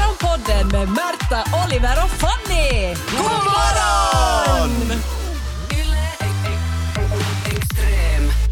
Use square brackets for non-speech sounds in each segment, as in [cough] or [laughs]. Morgonpodden med Märta, Oliver och Fanny! God morgon!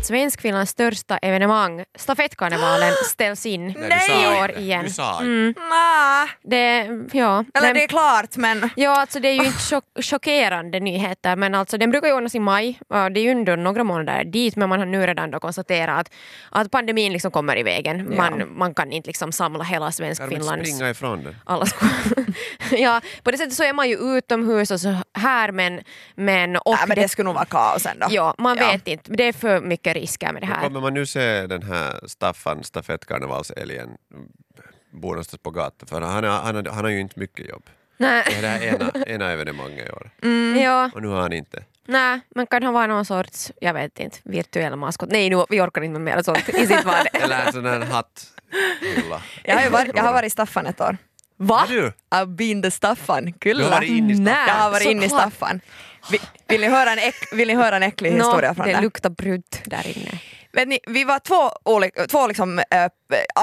Svenskfinlands största evenemang, stafettkarnevalen, [gasps] ställs in i Nej! år igen. Du sa det. Mm, Nä. det, ja, Eller den- det är klart men Ja, alltså det är ju inte chock chockerande nyheter men alltså den brukar ju ordnas i maj och det är ju ändå några månader dit men man har nu redan då konstaterat att, att pandemin liksom kommer i vägen. Man, man kan inte liksom samla hela Kan de inte Svenskfinlands springa ifrån den? alla skolor. [laughs] ja, på det sättet så är man ju utomhus och så här men... men, och Nej, men det skulle nog vara kaos ändå. Ja, man Ja. vet inte. Det är för mycket risker med det Men här. Kommer man nu se den här Staffan, stafettkarnevalsälgen, bo någonstans på gatan? För han, har- han, har- han har ju inte mycket jobb. Det är Nej, det [laughs] här ena, ena evenemanget i år. Mm. ja, Och nu har han inte. nej, men kan han vara någon sorts, jag vet inte, virtuell maskot? Nej, nu, vi orkar inte med mer sånt i sitt vardag. [laughs] Eller en sån här hatthylla. Jag har, ju varit, jag har varit Staffan ett år. Va? Har du? I've been the Staffan, kyllä. Du har varit inne i Staffan. Jag har varit inne i Såklart. Staffan. Vi- Vill ni höra en, äck, vill ni höra en äcklig historia från det det? luktar brunt där [laughs] inne. Vet ni, vi var två, oli- två liksom, eh,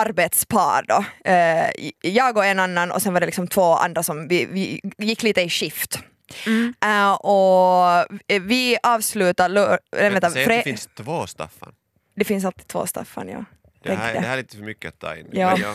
arbetspar då. Eh, jag och en annan och sen var det liksom två andra som vi, vi gick lite i skift. Mm. Eh, och vi avslutade... lö- Äh, vänta, Säg fre- att det finns två Staffan. det finns alltid två Staffan, ja. Det här, Tänk det det. här är lite för mycket att ta in. Ja. Men ja.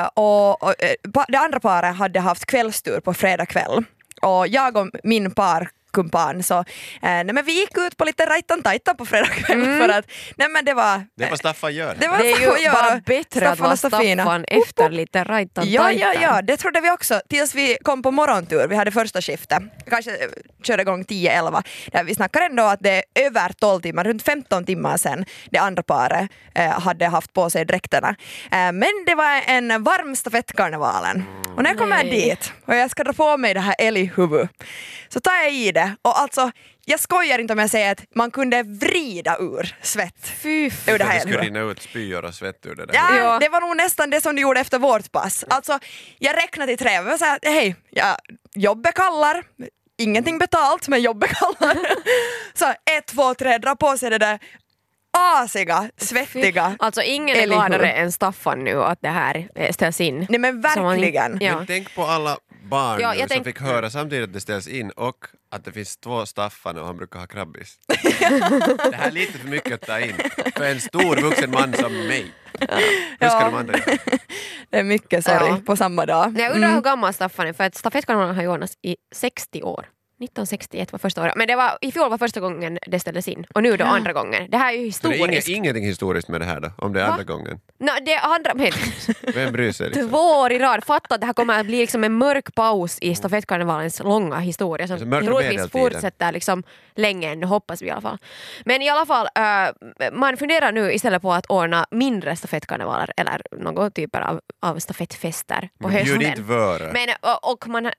Eh, och, och, eh, pa- det andra paret hade haft kvällstur på fredag kväll och jag och min parkumpan så eh, nej, men vi gick ut på lite rajtan tajtan på fredag kväll för att nej, men det var Det är vad Staffan gör. Det var- Mm. Det är får ju göra. bara bättre att Staffan vara och Staffina. Staffan efter lite rajtan Ja, ja, tajtan. ja, det trodde vi också tills vi kom på morgontur. Vi hade första skiftet, kanske eh, körde igång 10-11. Där vi snackar ändå att det är över 12 timmar, runt 15 timmar sedan det andra paret eh, hade haft på sig dräkterna. Eh, men det var en varm stafettkarnevalen. Och när jag kommer Nej. dit och jag ska dra på mig det här älghuvudet så tar jag i det och alltså jag skojar inte om jag säger att man kunde vrida ur svett Fy f- ur det För här det skulle älghuvudet. rinna ut spyor och svett ur det där. Ja, Ja. det var nog nästan det som du gjorde efter vårt pass. Alltså, jag räknade till tre, jag sa hej, ja, jobbet kallar, ingenting betalt men jobbet [laughs] kallar. så ett, två, tre, dra på sig det där asiga, svettiga. Alltså ingen är Eller hur? gladare än Staffan nu att det här eh, ställs in. Nej men Så man- verkligen. Ja. Men tänk på alla barn Ja, nu jag som tänk- fick höra samtidigt att det ställs in och att det finns två Staffan och han brukar [laughs] ha krabbis. det här är lite för mycket att ta in för en stor vuxen man som mig. Hur ska Ja. de andra göra? Det är mycket sorg Ja. på samma dag. Men Jag Mm. undrar hur gammal Staffan är för att stafettkarnevalen har ju ordnats i 60 år. 1961 var första året. Men det var, i fjol var första gången det ställdes in och nu då andra gången. Det här är ju Så det är historiskt. inget, ingenting historiskt med det här då, om det är Va? andra gången. Nå, det är andra, men, [laughs] Vem bryr sig? Liksom? två år i rad. Fatta att det här kommer att bli liksom en mörk paus i stafettkarnevalens långa historia som Alltså mörka troligtvis medeltiden. fortsätter liksom länge än, hoppas vi i alla fall. Men i alla fall, eh, man funderar nu istället på att ordna mindre stafettkarnevaler eller någon typer av, av stafettfester på hösten. Bjud inte Äh. vöra. Men, och, och man, har- [laughs]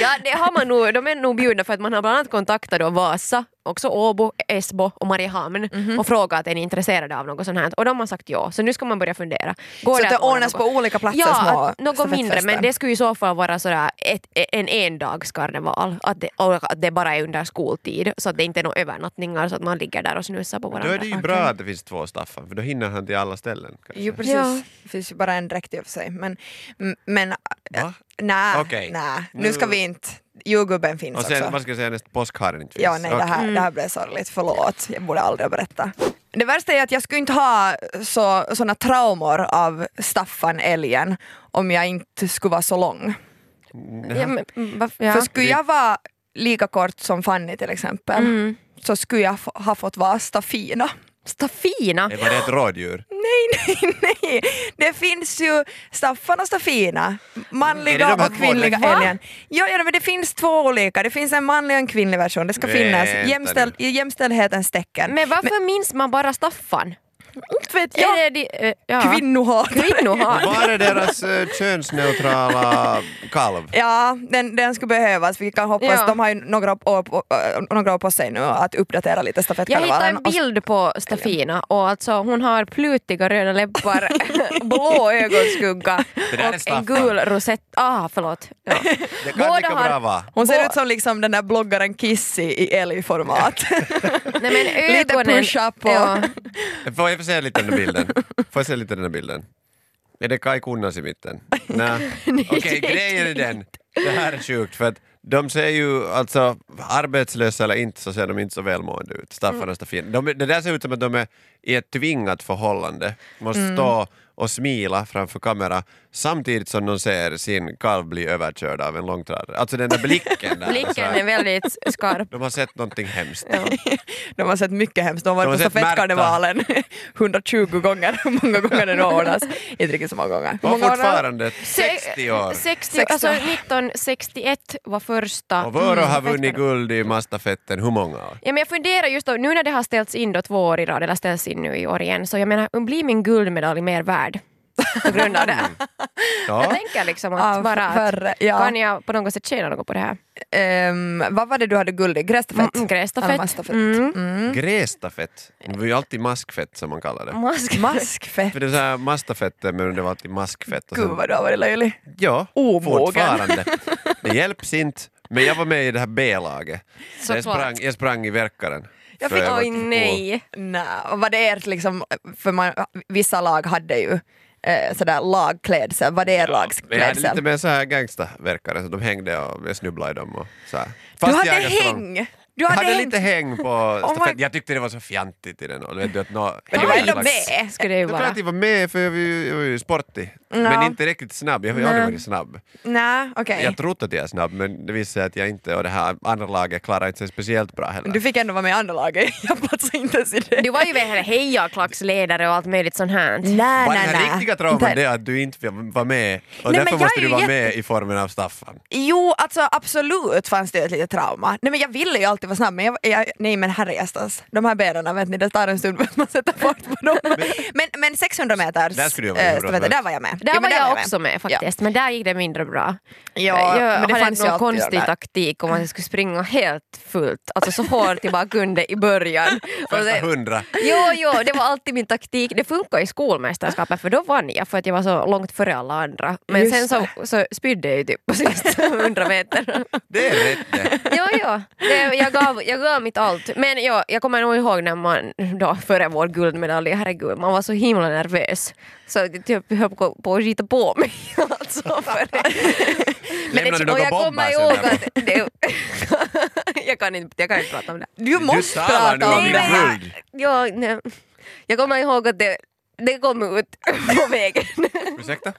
ja, det har man nog, de är nog bjudna för att man har bland annat kontaktat då Vasa, också Åbo, Esbo och Mariehamn Mhm. och frågat är ni intresserade av något sånt här och de har sagt ja. Så nu ska man börja fundera. Går Så att det ordna ordnas på något? olika platser Ja, små att något mindre stafettfester. men det skulle i så fall vara sådär ett, en endagskarneval att det, och att det bara är under skoltid så att det inte är några övernattningar så att man ligger där och snusar på Då varandra. är det ju bra att det finns två Staffan för då hinner han till alla ställen. kanske. Jo precis, Ja. det finns ju bara en dräkt i och för sig. Men, m- men Va? nej, Okej. nej, Nu- nu ska vi inte, jordgubben finns Och också. sen, vad ska jag säga nästa? Påskharen inte finns. Ja, nej, det, Okej. här, det Mm. här blev sorgligt. Förlåt, jag borde aldrig ha berättat. Det värsta är att jag skulle inte ha så, såna traumor av Staffan älgen om jag inte skulle vara så lång. Ja, men, mm, varför- ja. För skulle jag vara lika kort som Fanny till exempel Mm. så skulle jag få- ha fått vara Staffina. Staffina! Var det ett rådjur? Nej, nej, [laughs] nej! Det finns ju Staffan och Staffina, Är manliga det de här och kvinnliga två? Va? älgen. Ja, ja, men det finns två olika, det finns en manlig och en kvinnlig version, det ska Vänta finnas nu. jämställ, i jämställdhetens tecken. Men varför minns man bara Staffan? inte vet Ja. Är det, de- eh, ja. Kvinnohatare. Kvinnohat. Var är deras eh, könsneutrala kalv? Ja, den, den skulle behövas. Vi kan hoppas, Ja. de har ju några år, på, äh, några år på sig nu att uppdatera lite Jag hittade stafettkarnevalen. en bild på Stafina och alltså hon har plutiga röda läppar, [laughs] blå ögonskugga [laughs] Det där är och en Staffan. gul rosett. Ah, förlåt. Ja. Det kan Båda lika har- bra vara. Och hon Bå- ser ut som liksom den där bloggaren Kissi i älgformat. Nej, men Lite ögonen, push-up och- Ja, Får jag få se lite den här bilden? Får jag se lite den här bilden? Är det Kai Kunnas [laughs] i mitten? Nej. Nej, Okej, det är grejen det är den. Det här är sjukt för att de ser ju, alltså arbetslösa eller inte så ser de inte så välmående ut, Mm. Staffan och Staffin. De, det där ser ut som att de är i ett tvingat förhållande, måste Mm. stå och smila framför kamera samtidigt som de ser sin kalv bli överkörd av en långtradare. Alltså den där blicken där. alltså, Blicken är väldigt skarp. De har sett någonting hemskt. [laughs] De har sett mycket hemskt. De har De har varit på sett stafettkarnevalen [laughs] 120 gånger, [laughs] hur många gånger det nu ordnas. Inte riktigt så många gånger. Hur Och många ordnar- fortfarande 60 år. 60, 60. alltså 1961 var första. Och Vörå har Mm, vunnit guld i mastafetten hur många år? Ja, men jag funderar just då, nu när det har ställts in då två år i rad, eller ställs in nu i år igen, så jag menar, blir min guldmedalj mer värd på grund av det? Mm. Jag Ja. tänker liksom Ja, att bara att, förr, ja. kan jag på något sätt tjäna något på det här? Ehm, vad var det du hade guld i? Grässtafett? Mm, grässtafett. Eller mastafett? Mm. Grässtafett. Det var ju alltid maskfett som man kallar Mm. det. Mask. Maskfett? För det är så här mastafetter men det var alltid maskfett. Och Gud sen, vad du har varit löjlig. ja, Omogen. [laughs] fortfarande. Det hjälps inte. Men jag var med i det här B-laget. Så Jag Såklart. sprang, jag sprang i verkaren. Jag För fick- var [laughs] Oj inte cool. nej. Nej, och var det ert liksom, för man, vissa lag hade ju eh, sådär lagklädsel, var det er Men jag hade lagsklädsel? lite mer så här gangstaverkare så de hängde och jag snubblade i dem. Och så här. Du Fast hade jag är strong. häng! Du Jag hade, hade häng! Oh lite häng på my- stafett. Jag tyckte det var så fjantigt i den. och du vet, du vet, nå- Men du var ändå slags- med! Skulle det ju Jag tror vara. att jag var med för jag var ju, jag var ju sportig. Men Ja. inte riktigt snabb. Jag har ju Nej. aldrig varit snabb. Nej, okej. Jag trodde att jag är snabb men det visade sig att jag inte och det här andra laget klarar inte sig speciellt bra heller. Du fick ändå vara med i andra laget, [laughs] jag platsade inte ens i det. Du var ju väl hejarklacksledare och allt möjligt sånt här. Nej, Var nej, det nej. här riktiga trauman Inte- det att du inte var med och men därför jag måste är du ju vara jätte- med i formen av Staffan? Jo, alltså absolut fanns det ju ett litet trauma. Nej men jag ville ju alltid vara snabb men jag, jag, nej men herrejestas. De här benen, vet ni, det tar en stund för att man sätter fart på dem. Men, men 600 meters Där skulle du vara med, eh, stafetter, där var jag med. Där Jo, men var jag med. också med faktiskt, men där gick det mindre bra. Ja, jag men det hade fanns ju alltid någon de konstig där. taktik om att jag skulle springa helt fullt, alltså så hårt jag bara kunde i början. Och Första det, hundra. jo, jo, det var alltid min taktik. Det funkar i skolmästerskapet för då vann jag för att jag var så långt före alla andra. Men Just sen så, så spydde jag ju typ på sista 100 [laughs] meter. Det är rätt det. Jo, jo. Det, jag, gav, jag gav mitt allt. Men jag, jag kommer nog ihåg när man, då, före vår guldmedalj, herregud, man var så himla nervös. Så det typ höll på på att skita på mig. [laughs] Alltså, för det. Men Lämnade det, du och några jag kommer bomber sen ihåg där? att... Det, [laughs] jag, kan inte, jag kan inte prata om det. Du måste talar nu prata om om din det här. guld. Ja, nej. Jag kommer ihåg att det, det kom [laughs] ut på vägen. Ursäkta?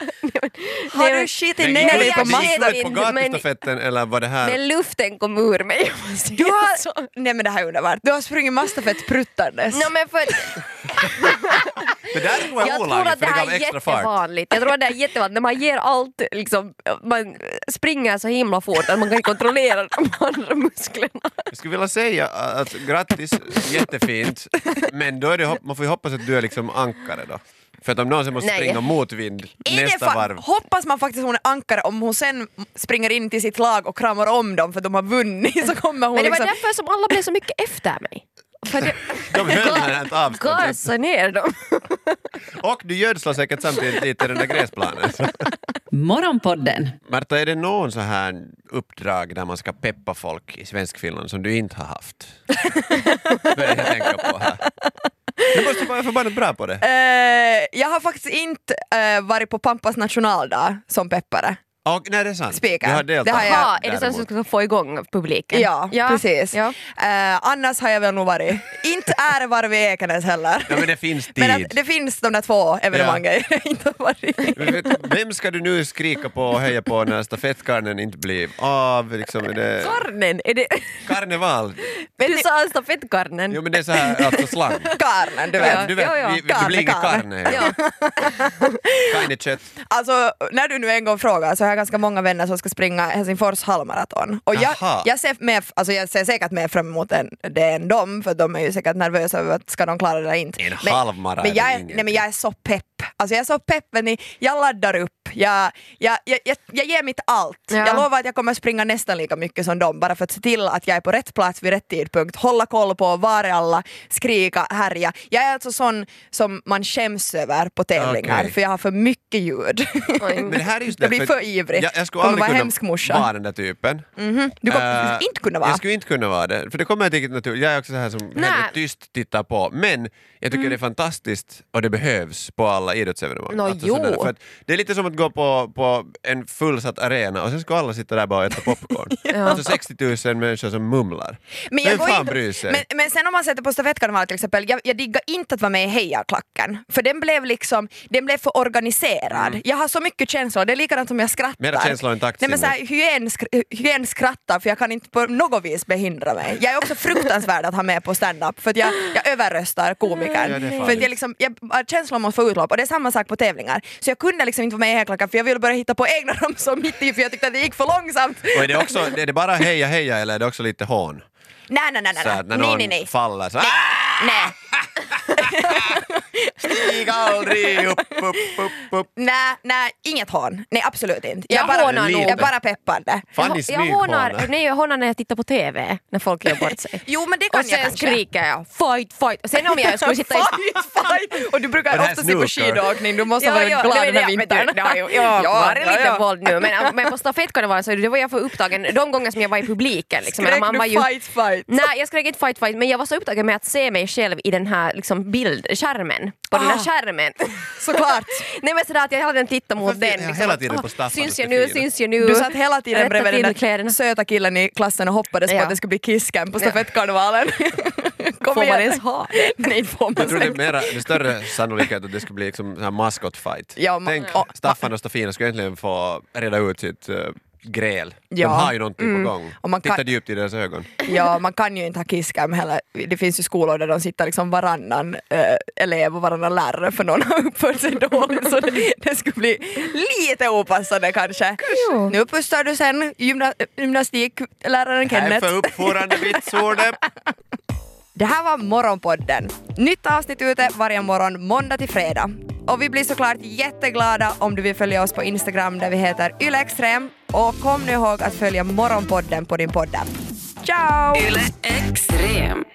Har Nej, du men- skitit Den nej, ner men dig gick på jag ut- den mattan? vet gick ut på inte, men- gatustafetten eller var det här? Men luften kom ur mig. om man säger Du har, så. nej men det här är underbart. Du har sprungit mastafett pruttandes. Nej, men för, Det där tror jag Jag är tror olagligt att för det det gav här är extra fart. jättevanligt. Jag tror att det är jättevanligt när man ger allt, liksom, man springer så himla fort att man kan inte [laughs] kontrollera de andra musklerna. Jag skulle vilja säga att grattis, jättefint, men då är det, hopp- man får ju hoppas att du är liksom ankare då. För att om någon sen måste Nej. springa motvind Är det nästa fa- varv. Hoppas man faktiskt hon är ankare om hon sen springer in till sitt lag och kramar om dem för de har vunnit så kommer hon Men det var liksom... därför som alla blev så mycket efter mig. För det, De höll den här ett avstånd. gasa ner dem. Och du gödslar säkert samtidigt lite den där gräsplanen. Så. Morgonpodden Märta, är det någon så här uppdrag där man ska peppa folk i svensk film som du inte har haft? Börjar jag tänka på här. Du måste vara förbannat bra på det. Eh, jag har faktiskt inte eh, varit på Pampas nationaldag som peppare. Och, nej, det är sant. Spikar. Du har deltagit. Det har jag. Ja, är det sånt som däremot. ska få igång publiken? Ja, precis. Ja. Eh, annars har jag väl nog varit, inte ärevarv i Ekenäs heller. Ja, men det finns tid. Men att det finns de där två evenemangen jag inte har varit i. [laughs] Men vet du, Vem ska du nu skrika på och heja på när stafettkarnen inte blir av? Liksom, är det... Karnen, är det... Karneval? Du sa stafettkarnen. Jo men det är så här, alltså slang. Karnen, du Ja, vet. Du vet, ja, ja. vi, vi, det blir inget Karne, karne. Ja. Ja. Karne kött. Alltså, när du nu en gång frågar så har jag ganska många vänner som ska springa Helsingfors halvmaraton. Och jag, Jaha. jag, ser mer, alltså jag ser säkert mer fram emot en, det än dem, för de är ju säkert nervösa över att ska de klara det eller inte. En halvmara men är jag, väl är- nej, men ingenting. jag är så pepp. Alltså jag är så pepp, men jag laddar upp. Jag, jag, jag, jag, jag ger mitt allt. Ja. Jag lovar att jag kommer springa nästan lika mycket som dem bara för att se till att jag är på rätt plats vid rätt tidpunkt. Hålla koll på var är alla, skrika, härja. Jag är alltså sån som man skäms över på tävlingar Okej. för jag har för mycket ljud. [laughs] Oj. Men det här är just det, Jag blir för för ivrig. Jag, jag skulle Kommer aldrig vara kunna hemsk morsa. vara den där typen. Du kommer Eh, inte kunna vara. Jag skulle inte kunna vara det, för det kommer inte riktigt naturligt. Jag är också så här som hellre tyst tittar på. Men jag Mm. tycker det är fantastiskt och det behövs på alla idrottsevenemang. Nå, jo. sådana där. för att det är lite som att gå på, på en fullsatt arena och sen ska alla sitta där bara och [laughs] äta popcorn. Alltså 60 000 människor som mumlar. Men jag Vem går fan inte- bryr sig? Men, men sen om man sätter på stafettkarneval till exempel, jag, jag diggar inte att vara med i hejarklacken. För den blev liksom, den blev för organiserad. Jag har så mycket känslor, det är likadant som jag skrattar. Mm. Mera känslor än Nej men taktsinne. såhär, hyen, skr- hyen skrattar för jag kan inte på något vis behindra mig. Jag är [laughs] också fruktansvärd att ha med på stand-up för att jag, jag överröstar komikern. Ja, det är för att farligt. jag liksom, jag, känslor måste få utlopp och det är samma sak på tävlingar. Så jag kunde liksom inte vara med i hejarklacken för jag ville börja hitta på egna ramsor mitt i för jag tyckte att det gick för långsamt. Och är det, också, är det bara heja heja eller är det också lite hån? Nej nej nej nej. Så att när nej någon nej nej. faller så "Ah, nej. [laughs] stig aldrig upp, upp, upp, upp. Nej, nej, inget hån. Nej, absolut inte. Jag bara, hånar nog. jag bara peppade. Fanny jag, jag, hånar, smyghånar. nej, jag hånar när jag tittar på TV, när folk gör bort sig. Jo, men det kan och [laughs] sen jag kanske. skriker jag fight, fight. Och sen om jag skulle sitta i... [laughs] Fight, fight! Och du Och brukar det här ofta se på snokar. skidåkning, du måste ha varit ja, glad nej, den här ja, men du, vintern. Ja, [laughs] jo, ja, var det lite våld nu. Men, men på stafettkarnevalen så det var jag för upptagen de gånger som jag var i publiken. Liksom, Skrek man du var ju, fight, fight? Nej, jag skrek inte fight fight men jag var så upptagen med att se mig själv i den här liksom, bild, skärmen. På den här Ah. skärmen. [laughs] Såklart! [laughs] Nej men sådär att jag hade en titta mot Fast det- den. ja, Liksom, hela att, tiden ah, på Staffans Syns jag nu, profil. syns jag nu. Du satt hela tiden Rätta bredvid den till där kläderna. söta killen i klassen och hoppades på Ja. att det skulle bli kisscam på stafettkarnevalen. Kom Får man igen. ens ha Nej, det får Jag man tror det är säkert. mera, det är större sannolikhet att det skulle bli liksom så här maskotfight. Ja, ma- Tänk, ja. Staffan och Stafina skulle egentligen få reda ut sitt eh, gräl. Ja. Mm. De har ju någonting på gång. Och man Titta kan- djupt i deras ögon. Ja, man kan ju inte ha kisscam heller. Det finns ju skolor där de sitter liksom varannan eh, elev och varannan lärare för någon har uppfört sig dåligt så det, det skulle bli lite opassande kanske. Jo. Nu pussar du sen gymna, gymnastikläraren Här Kenneth. för uppförande [laughs] vitsordet. Det här var Morgonpodden. Nytt avsnitt ute varje morgon måndag till fredag. Och vi blir såklart jätteglada om du vill följa oss på Instagram där vi heter ylextrem. Och kom nu ihåg att följa Morgonpodden på din poddapp. Ciao! Yle Extrem.